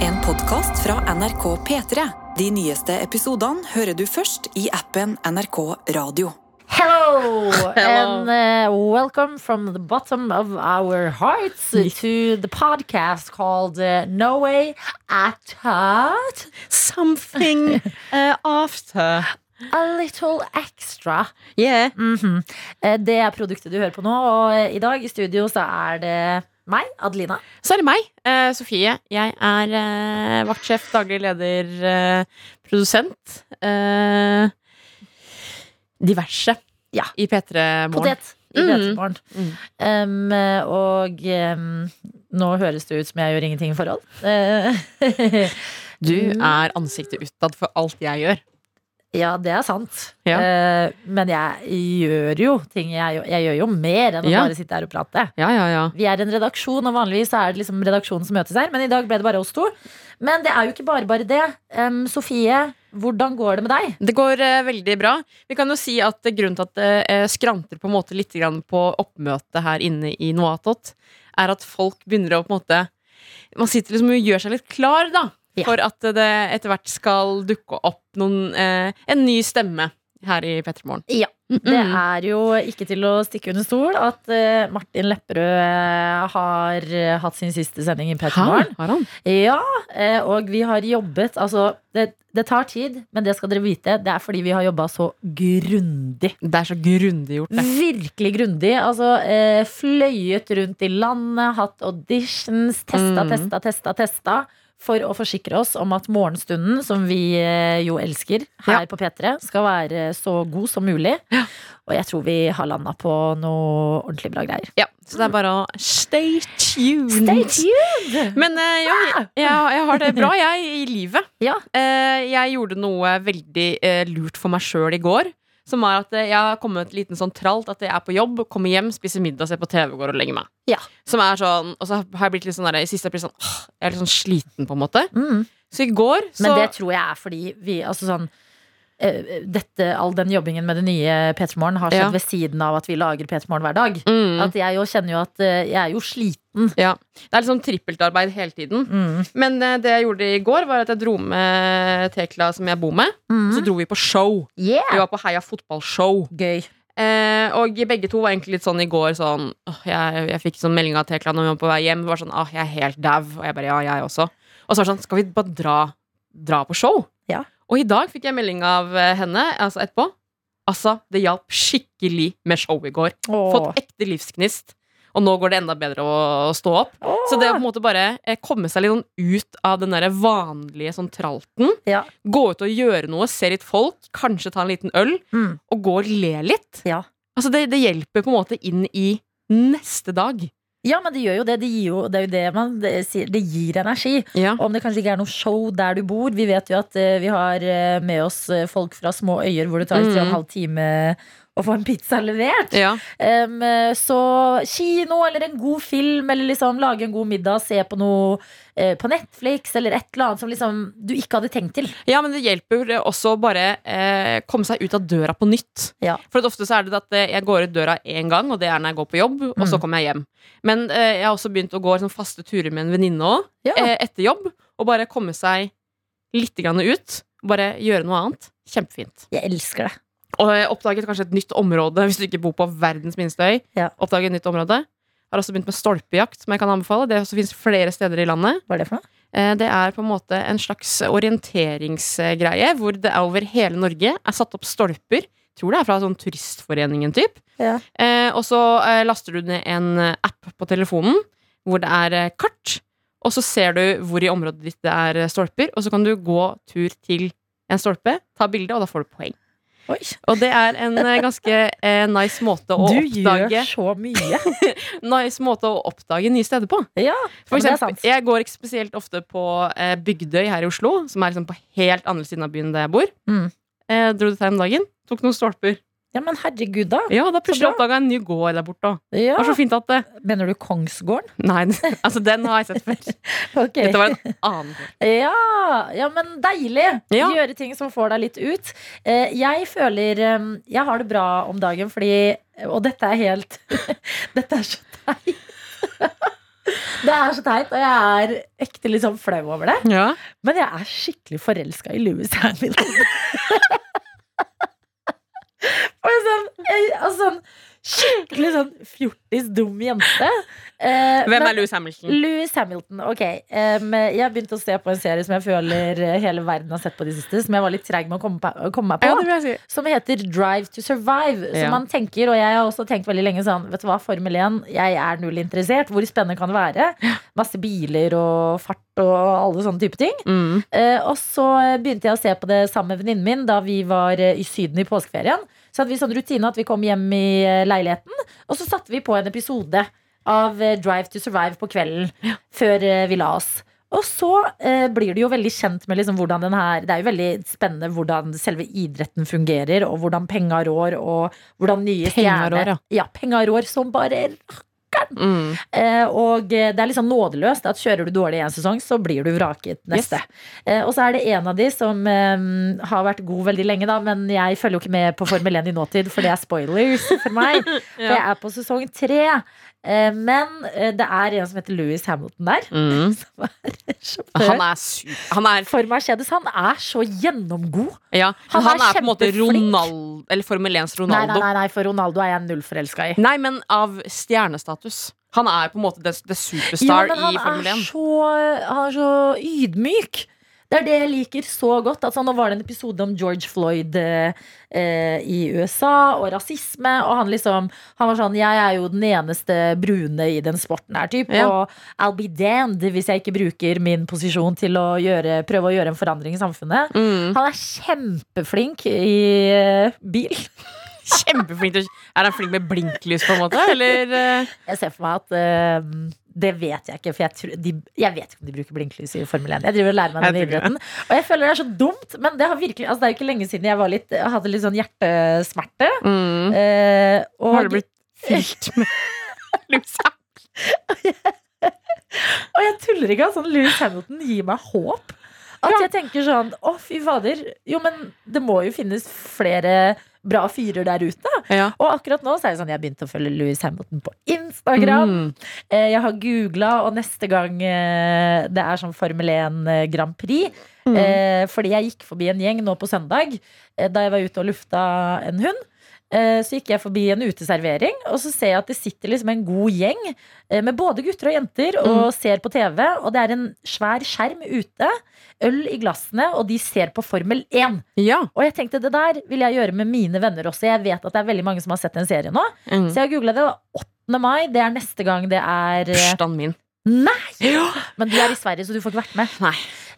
En podkast fra NRK P3. De nyeste episodene hører du først i appen NRK Radio. Hello, Hello. and uh, welcome from the bottom of our hearts to the podcast called uh, No Way At Heart. Something eh, after. A little extra. Yeah. Mhm. Eh, Det er produktet du hører på nå, og eh, i dag i studio så er det meg, Adelina. Så er det meg, eh, Sofie. Jeg er eh, vaktsjef, daglig leder, eh, produsent. eh, diverse Ja. i P3 Morgen. Potet i Mm. Petermorgen. Mm. Um, og um, nå høres det ut som jeg gjør ingenting i forhold. Eh, Du er ansiktet utad for alt jeg gjør. Ja, det er sant. Ja. Eh, men jeg gjør jo ting. Jeg, gjør- jeg gjør jo mer enn å Ja. bare sitte her og prate. Ja, ja, ja. Vi er en redaksjon, og vanligvis er det liksom redaksjonen som møtes her. Men i dag ble det bare oss to. Men det er jo ikke bare bare det. Em, Sofie, hvordan går det med deg? Det går eh, veldig bra. Vi kan jo si at eh, grunnen til at det eh, skranter på en måte litt grann på oppmøtet her inne i Noatot, er at folk begynner å på en måte Man sitter liksom og gjør seg litt klar, da. Ja. For at det etter hvert skal dukke opp noen, eh, en ny stemme her i P3 Morgen. Ja, Det er jo ikke til å stikke under stol at eh, Martin Lepperød eh, har eh, hatt sin siste sending i Petter Morgen. Har han? Ja, eh, og vi har jobbet Altså, det, det tar tid, men det skal dere vite. Det er fordi vi har jobba så grundig. Det er så grundig gjort, det. Virkelig grundig. Altså eh, fløyet rundt i landet, hatt auditions, testa, Mm. testa, testa, testa. For å forsikre oss om at morgenstunden, som vi eh, jo elsker her Ja. på P3, skal være så god som mulig. Og jeg tror vi har landa på noe ordentlig bra greier. Ja, så det er bare å stay tuned. Stay tuned! Men eh, ja, jeg, jeg, jeg har det bra, jeg, i livet. Ja. Eh, jeg gjorde noe veldig eh, lurt for meg sjøl i går. Som er at eh, jeg har kommet et liten sånn tralt at jeg er på jobb, kommer hjem, spiser middag, ser på TV, går og legger meg. Ja. Som er sånn, Og så har jeg blitt litt sånn der, i siste jeg blitt sånn, åh, jeg er litt sånn sliten, på en måte. Mm. Så i går så Men det tror jeg er fordi vi Altså sånn eh, dette, All den jobbingen med det nye P3 Morgen har skjedd Ja. ved siden av at vi lager P3 Morgen hver dag. mm, At jeg jo kjenner jo at eh, jeg er jo sliten. ja. Det er liksom trippeltarbeid hele tiden. Men eh, det jeg gjorde i går, var at jeg dro med Tekla, som jeg bor med. Mhm. Så dro vi på show. Yeah! Vi var på Heia fotballshow. Gøy. Eh, og begge to var egentlig litt sånn i går sånn åh, Jeg, jeg fikk sånn melding av Tekla når vi var på vei hjem. Var sånn, åh, jeg er helt dau. Og jeg bare ja, jeg også. Og så var det sånn, skal vi bare dra, dra på show? Ja. Og i dag fikk jeg melding av eh, henne altså etterpå. Altså, det hjalp skikkelig med show i går. Åh. Fått ekte livsgnist. Og nå går det enda bedre å, å stå opp. Så det å på en måte bare eh, komme seg litt sånn ut av den der vanlige sånn tralten, Ja. gå ut og gjøre noe, se litt folk, kanskje ta en liten øl, Mm. og gå og le litt. Ja. Altså det, det hjelper på en måte inn i neste dag. ja, men det gjør jo det. Det, gir jo, det er jo det man det sier. Det gir energi. Ja. Om det kanskje ikke er noe show der du bor. Vi vet jo at eh, vi har eh, med oss eh, folk fra små øyer hvor det tar tre og Mm. en halv time å få en pizza levert. Ja. Em, eh, så kino eller en god film, eller liksom lage en god middag, se på noe eh, på Netflix, eller et eller annet som liksom du ikke hadde tenkt til. men det hjelper også bare eh, komme seg ut av døra på nytt. Ja. For at ofte så er det at eh, jeg går ut døra én gang, og det er når jeg går på jobb, og så Mm. kommer jeg hjem. Men eh, jeg har også begynt å gå sånn faste turer med en venninne òg, Ja. eh, etter jobb, og bare komme seg litt grann ut. Bare gjøre noe annet. Kjempefint. Jeg elsker det. Og jeg oppdaget kanskje et nytt område hvis du ikke bor på verdens minste øy. Ja. Oppdaget et nytt område. Har også begynt med stolpejakt, som jeg kan anbefale. Det også finnes flere steder i landet. Hva er det for noe? Eh, Det er på en måte en slags orienteringsgreie hvor det over hele Norge er satt opp stolper. Tror det er fra sånn turistforeningen typ. Ja. Eh, og så eh, laster du ned en eh, app på telefonen hvor det er eh, kart. Og så ser du hvor i området ditt det er eh, stolper, og så kan du gå tur til en stolpe, ta bilde, og da får du poeng. Oi. Og det er en eh, ganske eh, nice måte å du oppdage gjør så mye. nice måte å oppdage nye steder på. Ja, For men det er eksempel, sant. jeg går ikke spesielt ofte på eh, Bygdøy her i Oslo, som er liksom på helt andre siden av byen der jeg bor. Mm. Eh, dro dit her om dagen, tok noen stolper. ja, men herregud, da. Ja, da plutselig Så bra. oppdaga jeg en ny gård der borte òg. Det Ja. var så fint at det Mener du Kongsgården? Nei, altså den har jeg sett før. Ok. Dette var en annen gård. Ja, ja, men deilig! Ja. Gjøre ting som får deg litt ut. Eh, Jeg føler eh, Jeg har det bra om dagen fordi Og dette er helt Dette er så teit. Det er så teit, og jeg er ekte litt sånn flau over det. Ja. Men jeg er skikkelig forelska i Louis Hamilton. Og jeg er sånn, jeg, altså, sånn skikkelig sånn fjortis dum jente. Eh, Hvem men- er Louis Hamilton? Lewis Hamilton. Ok. Em, jeg har begynt å se på en serie som jeg føler eh, hele verden har sett på de siste, som jeg var litt treig med å komme, på, komme meg på. Ja, det vil jeg si. Som heter Drive to Survive. Som Ja. man tenker, og jeg har også tenkt veldig lenge sånn Vet du hva, Formel 1, jeg er null interessert. Hvor spennende kan det være? Masse biler og fart og alle sånne type ting. Mm. Eh, og så eh, begynte jeg å se på det sammen med venninnen min da vi var eh, i Syden i påskeferien. Så hadde vi sånn rutine at vi kom hjem i eh, leiligheten, og så satte vi på en episode av eh, Drive to Survive på kvelden før eh, vi la oss. Og så eh, blir du jo veldig kjent med liksom hvordan den her Det er jo veldig spennende hvordan selve idretten fungerer, og hvordan penga rår, og hvordan nye Penga rår, ja. ja, penga rår som bare Mm. Eh, og eh, det er litt sånn nådeløst at kjører du dårlig i en sesong, så blir du vraket neste. Eh, og så er det en av de som eh, har vært god veldig lenge, da, men jeg følger jo ikke med på Formel 1 i nåtid, for det er spoilers for meg. For jeg er på sesong tre. Eh, men eh, det er en som heter Louis Hamilton der. Mm. Som er Han sjåfør er syk. Han er, for Mercedes. Han er så gjennomgod. ja, Han han er er, på en måte kjempeflink. Ronald, eller Formel 1s Nei, nei, Ronaldo. nei, nei, for Ronaldo er jeg null forelska i. Nei, men av stjernestatus. Han er på en måte the, the Ja, superstar men han i Formel er, 1. så, han er så ydmyk. Det er det jeg liker så godt. Altså, nå var det en episode om George Floyd eh, eh, i USA og rasisme. Og han liksom Han var sånn Jeg er jo den eneste brune i den sporten her, typ. Ja. Og I'll be damned hvis jeg ikke bruker min posisjon til å gjøre, prøve å gjøre en forandring i samfunnet. Mm. Han er kjempeflink i eh, bil. Kjempeflink. til å- Er han flink med blinklys, på en måte? Eller eh, Jeg ser for meg at eh, det vet jeg ikke, for jeg, tror, de, jeg vet ikke om de bruker blinklys i Formel 1. Jeg driver og lærer meg den Jeg tror idretten. Og jeg føler det er så dumt, men det, har virkelig, altså det er jo ikke lenge siden jeg var litt, jeg hadde litt sånn hjertesmerte. mm. eh, og, Har det blitt fylt med lus? og jeg tuller ikke, altså. Louis Hamilton gir meg håp. At jeg tenker sånn Å, fy fader. Jo, men det må jo finnes flere bra fyrer der ute. Ja. Og akkurat nå så er det sånn jeg har begynt å følge Louis Hamilton på Instagram. Mm. Eh, Jeg har googla, og neste gang eh, det er sånn Formel 1 eh, Grand Prix eh, Fordi jeg gikk forbi en gjeng nå på søndag eh, da jeg var ute og lufta en hund. eh, Så gikk jeg forbi en uteservering, og så ser jeg at det sitter liksom en god gjeng eh, med både gutter og jenter og ser på TV. Og det er en svær skjerm ute, øl i glassene, og de ser på Formel 1. ja. Og jeg tenkte det der vil jeg gjøre med mine venner også. Jeg vet at det er veldig mange som har sett den serien nå. Mm. Så jeg har googla det. det er 8. mai, det er neste gang det er eh, Bursdagen min. Nei! Ja. Men du er i Sverige, så du får ikke vært med. Nei.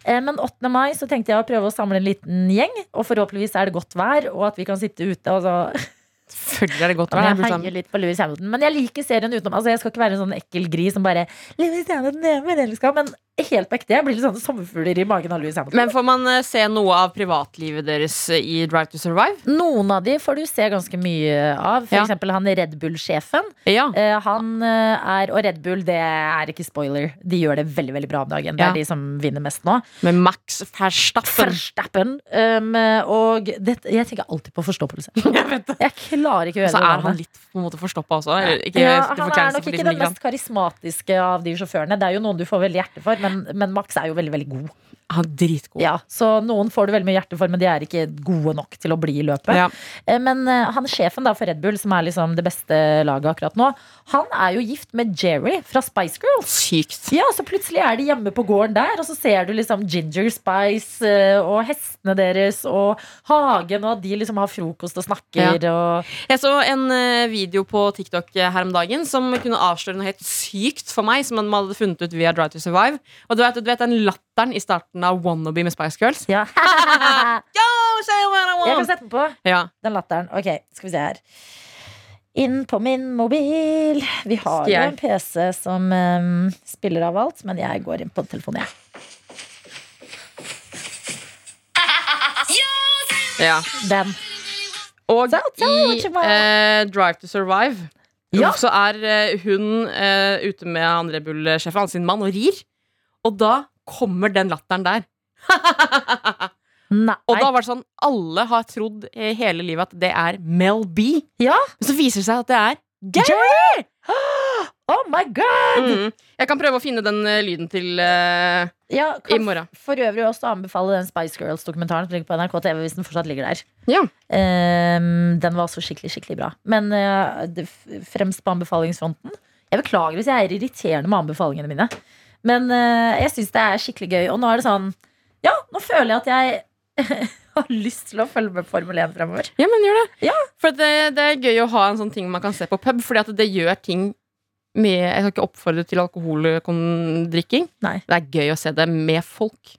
Eh, Men 8. mai så tenkte jeg å prøve å samle en liten gjeng. Og forhåpentligvis er det godt vær, og at vi kan sitte ute. Og så Selvfølgelig er det godt å kan være jeg her. bursdagen min. heie litt på Louis Hamilton. Men jeg liker serien utenom. Altså, jeg skal ikke være en sånn ekkel gris som bare Louis Hamilton, jeg er forelska. Men helt på ekte, jeg blir litt sånn sommerfugler i magen av Louis Hamilton. Men får man eh, se noe av privatlivet deres eh, i Drive to Survive? noen av de får du se ganske mye av. For Ja. eksempel han Red Bull-sjefen. Ja. Eh, Han eh, er, Og Red Bull, det er ikke spoiler. De gjør det veldig veldig bra om dagen. Det Ja. er de som vinner mest nå. Med Max Verstappen. Verstappen. Um, og det, jeg tenker alltid på forstoppelse. Jeg klarer ikke å gjøre Så det. er han litt på en måte forstoppa også. eller Ikke, ja, til han er forkleinelse nok for ikke de som liksom den liker han. mest karismatiske av de sjåførene. Det er jo noen du får veldig hjerte for, men, men Max er jo veldig veldig god. Han er dritgod. Ja, så noen får du veldig mye hjerte for, men de er ikke gode nok til å bli i løpet. Ja. Eh, Men eh, han sjefen da for Red Bull, som er liksom det beste laget akkurat nå, han er jo gift med Jerry fra Spice Girls. Sykt. Ja, så plutselig er de hjemme på gården der, og så ser du liksom Ginger Spice eh, og hestene deres og hagen, og at de liksom har frokost og snakker og Jeg så en eh, video på TikTok eh, her om dagen som kunne avsløre noe helt sykt for meg. Som man hadde funnet ut via Drive to Survive. Og du vet, du vet den latteren i starten av Wannabe med Spice Girls? Ja. Jeg Yo, say what I kan want! sette den på. Ja. Den latteren. Ok, skal vi se her. Inn på min mobil. Vi har jo Stjel. en PC som eh, spiller av alt, men jeg går inn på telefonen, jeg. ja. Den. Og Shout out i to my- eh, Drive to Survive Ja. så er eh, hun eh, ute med han Red Bull-sjefen, han sin mann, og rir. Og da kommer den latteren der. Nei. Og da var det sånn Alle har trodd eh, hele livet at det er Mel B. Ja. Men så viser det seg at det er Gary! Oh my god! Mm. Jeg kan prøve å finne den eh, lyden til eh, Ja, i kan morgen. for øvrig også anbefale den Spice Girls-dokumentaren som ligger på NRK TV, hvis den fortsatt ligger der. Ja. Ehm, den var også skikkelig, skikkelig bra. Men eh, det f- fremst på anbefalingsfronten. Jeg beklager hvis jeg er irriterende med anbefalingene mine. Men eh, jeg syns det er skikkelig gøy. Og nå er det sånn Ja, nå føler jeg at jeg har lyst til å følge med Formel 1 fremover. Ja, men gjør det. Ja. For det, det er gøy å ha en sånn ting man kan se på pub, fordi at det gjør ting med Jeg skal ikke oppfordre til alkoholdrikking. Nei. Det er gøy å se det med folk.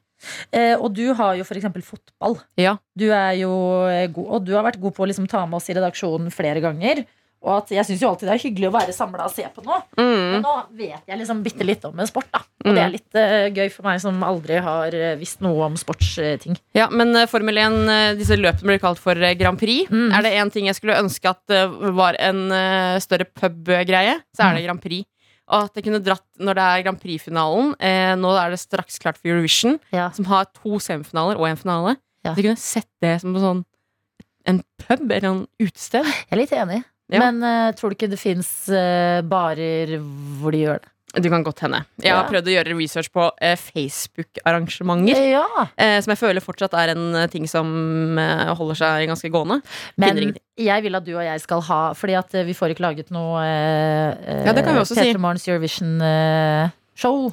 Eh, og du har jo f.eks. fotball. Ja. Du er jo eh, god, og du har vært god på å liksom ta med oss i redaksjonen flere ganger. Og at jeg syns jo alltid det er hyggelig å være samla og se på noe. Men Mm. nå vet jeg liksom bitte litt om en sport, da. Og Mm. det er litt eh, gøy for meg som aldri har eh, visst noe om sportsting. Ja, Men eh, Formel 1, eh, disse løpene blir kalt for eh, Grand Prix. Mm. Er det én ting jeg skulle ønske at eh, var en eh, større pub-greie, så er det Grand Prix. Og at jeg kunne dratt når det er Grand Prix-finalen. Eh, nå er det straks klart for Eurovision. Ja. som har to semifinaler og en finale. Ja. Så jeg kunne sett det som en sånn en pub eller en utested. Jeg er litt enig. Ja. Men eh, tror du ikke det fins barer hvor de gjør det? Det kan godt hende. Jeg har Ja. prøvd å gjøre research på eh, Facebook-arrangementer, Ja, eh, som jeg føler fortsatt er en eh, ting som eh, holder seg ganske gående. Finner Men ingenting. jeg vil at du og jeg skal ha Fordi at eh, vi får ikke laget noe eh, Ja, det kan vi også si. Peter Morgens Eurovision-show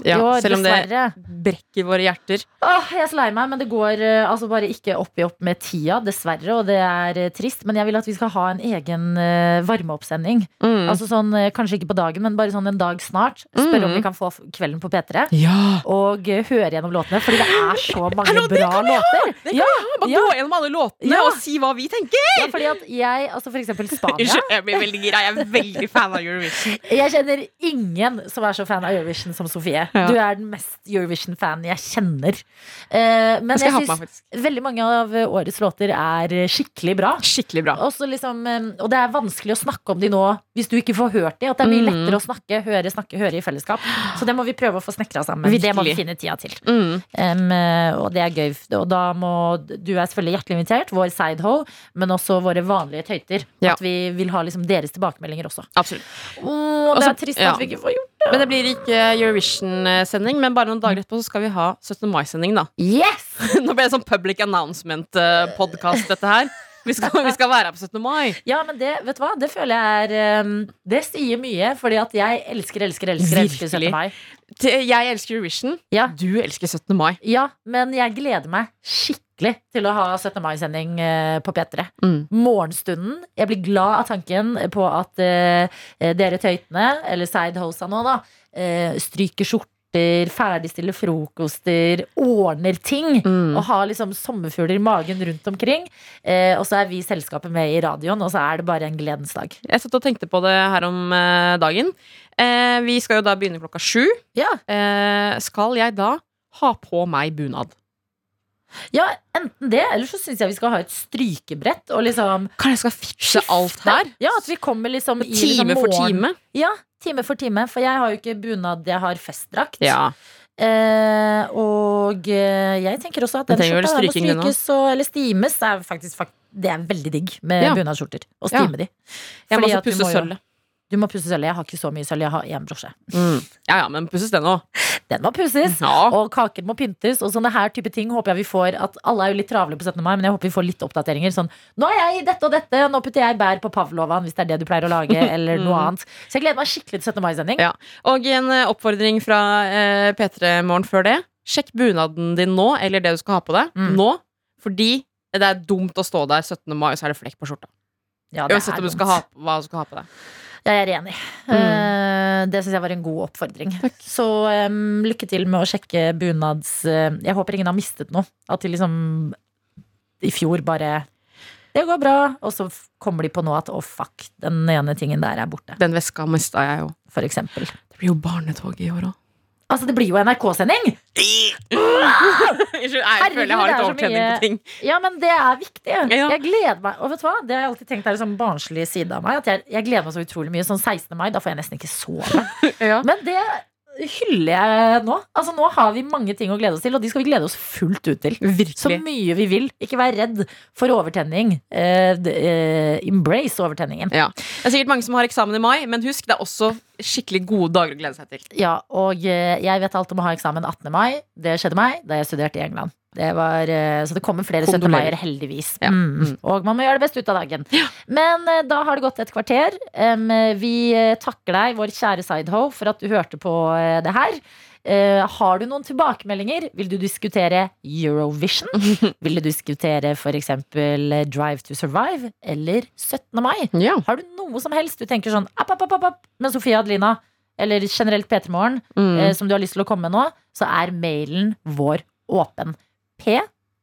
Ja, i år, selv om det- dessverre. Brekker våre hjerter. Åh, jeg er så lei meg, men det går eh, altså bare ikke opp i opp med tida, dessverre. Og det er eh, trist. Men jeg vil at vi skal ha en egen eh, varmeoppsending. Altså, Altså sånn, eh, Kanskje ikke på dagen, men bare sånn en dag snart. Spørre om Mm. vi kan få f- Kvelden på P3. ja! Og eh, høre gjennom låtene, fordi det er så mange Hallo, det bra kan vi ha! låter. Det kan Ja, Bare ja. gå gjennom alle låtene Ja. og si hva vi tenker! ja, fordi at jeg, altså for eksempel Spania Unnskyld, jeg blir veldig gira. Jeg er veldig fan av Eurovision. Jeg kjenner ingen som er så fan av Eurovision som Sofie. Ja. Du er den mest Eurovision-fanen jeg kjenner. Eh, men Det skal jeg jeg ha på meg, syns faktisk. veldig mange av eh, årets låter er eh, skikkelig bra. Skikkelig bra. Og så liksom, eh, og det er vanskelig å snakke om de nå hvis du ikke får hørt de. At det er mye Mm. lettere å snakke, høre, snakke, høre i fellesskap. Så det må vi prøve å få snekra sammen. Det må vi Virkelig. finne tida til. Mm. Em, eh, og det er gøy. Og da må du er selvfølgelig hjertelig invitert, vår sidehow, men også våre vanlige tøyter. Ja. At vi vil ha liksom deres tilbakemeldinger også. Absolutt. Åh, det Altså, er trist ja. at vi ikke får gjort Men det blir ikke Eurovision-sending, men bare noen dager etterpå så skal vi ha 17. mai-sending, da. Yes! Nå ble det sånn public announcement-podkast, dette her. Vi skal, vi skal være her på 17. mai. Ja, men det, vet du hva? Det føler jeg er em, Det sier mye, fordi at jeg elsker, elsker, elsker, elsker 17. Virkelig. mai. Til- Jeg elsker Eurovision. Ja. Du elsker 17. mai. Ja, men jeg gleder meg skikkelig til å ha 17. mai-sending eh, på P3. Mm. Morgenstunden. Jeg blir glad av tanken på at eh, dere tøytene, eller sidehosa nå, da, eh, stryker skjorter, ferdigstiller frokoster, ordner ting. Mm. Og har liksom sommerfugler i magen rundt omkring. Eh, og så er vi selskapet med i radioen, og så er det bare en gledens dag. Jeg satt og tenkte på det her om eh, dagen. Eh, vi skal jo da begynne klokka sju. Ja, Eh, skal jeg da ha på meg bunad? ja enten det, eller så syns jeg vi skal ha et strykebrett. Og liksom Kan jeg skal fikse alt her? Ja, at vi kommer liksom i liksom Time for morgen- time? Ja, time for time. For jeg har jo ikke bunad, jeg har festdrakt. Ja. Eh, og eh, jeg tenker også at den Du trenger vel skjorta der må stryking, den strykes og, eller stimes. Det er faktisk fak- det er veldig digg med Ja. bunadsskjorter. Å Ja. stime de. Jeg må Fordi også at du pusse må jo- sølvet. Du må pusse sølvet. Jeg har ikke så mye sølv, jeg har én brosje. Mm. Ja ja, men pusses den òg. Den må pusses. Ja. Og kaker må pyntes, og sånne her type ting håper jeg vi får at Alle er jo litt travle på 17. mai, men jeg håper vi får litt oppdateringer. Sånn Nå er jeg i dette og dette, nå putter jeg bær på pavlovaen, hvis det er det du pleier å lage, eller noe annet. Så jeg gleder meg skikkelig til 17. mai-sending. Ja. Og en eh, oppfordring fra eh, P3 Morgen før det. Sjekk bunaden din nå, eller det du skal ha på deg, Mm. nå. Fordi det er dumt å stå der 17. mai, og så er det flekk på skjorta. Ja, det Uansett er om du dumt. skal ha, hva du skal ha på deg. Ja, jeg er enig. Eh, det syns jeg var en god oppfordring. Så em, lykke til med å sjekke bunads... eh, jeg håper ingen har mistet noe. At de liksom i fjor bare Det går bra. Og så f- kommer de på nå at å, fuck, den ene tingen der er borte. Den veska mista jeg jo. For eksempel. Det blir jo barnetog i år òg. Altså, det blir jo NRK-sending! Unnskyld, jeg Herregud, føler det jeg har litt er så overtenning mye- på ting. Ja, men det er viktig. Ja. Jeg gleder meg. Og vet du hva? Det har jeg alltid tenkt er en sånn barnslig side av meg. At jeg, jeg gleder meg så utrolig mye. Sånn 16. mai, da får jeg nesten ikke sove. Ja. Men det hyller jeg nå. Altså, nå har vi mange ting å glede oss til, og de skal vi glede oss fullt ut til. Så Virkelig. mye vi vil. Ikke vær redd for overtenning. Eh, d- eh, embrace overtenningen. Det er sikkert mange som har eksamen i mai, men husk, det er også skikkelig gode dager å glede seg til. Ja, og eh, jeg vet alt om å ha eksamen 18. mai. Det skjedde meg da jeg studerte i England. Det var, eh, så det kommer flere 17. Kondolerer. maier, heldigvis. Ja. Mm. Og man må gjøre det beste ut av dagen. Men eh, da har det gått et kvarter. Em, vi eh, takker deg, vår kjære Sideho, for at du hørte på eh, det her. Eh, har du noen tilbakemeldinger? Vil du diskutere Eurovision? Vil du diskutere f.eks. Drive to Survive eller 17. mai? Ja. Har du noe som helst du tenker sånn app, app, app, app, app, med Sofie Adelina, eller generelt P3 Morgen, Mm. eh, som du har lyst til å komme med nå, så er mailen vår åpen.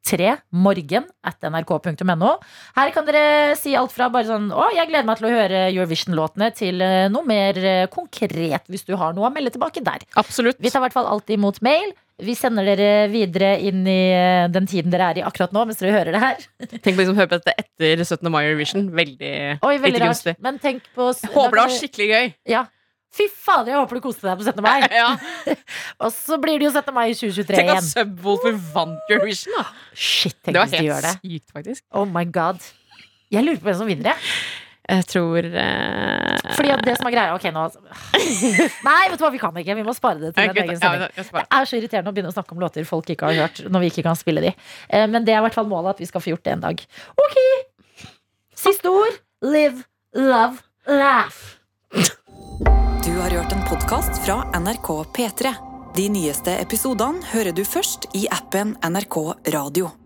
P3morgen at nrk.no. Her kan dere si alt fra bare sånn å, jeg gleder meg til å høre Eurovision-låtene, til eh, noe mer eh, konkret, hvis du har noe å melde tilbake der. Absolutt. Vi tar i hvert fall alltid imot mail. Vi sender dere videre inn i eh, den tiden dere er i akkurat nå, mens dere hører det her. Tenk på de som hører på dette etter 17. mai Eurovision. Veldig Oi, veldig lite rart. gunstig. Men tenk på Jeg Håper det var skikkelig gøy. Ja. Fy fader, jeg håper du koste deg på 17. mai. Ja. Og så blir det jo 17. mai i 2023 Tenk at igjen. Subwoolfer vant Eurovision, da. Shit, tenk Det var hvis de gjør det. helt sykt, faktisk. Oh my god. Jeg lurer på hvem som vinner, jeg. Jeg tror eh, Fordi at det som er greia Ok, nå Nei, vet du hva, vi kan ikke. Vi må spare det til en gutta, egen ja, sending. jeg Det skal bare- er så irriterende å begynne å snakke om låter folk ikke har hørt, når vi ikke kan spille de. Eh, Men det er i hvert fall målet at vi skal få gjort det en dag. Ok! Siste ord. Live, love, laugh. Du har hørt en podkast fra NRK P3. De nyeste episodene hører du først i appen NRK Radio.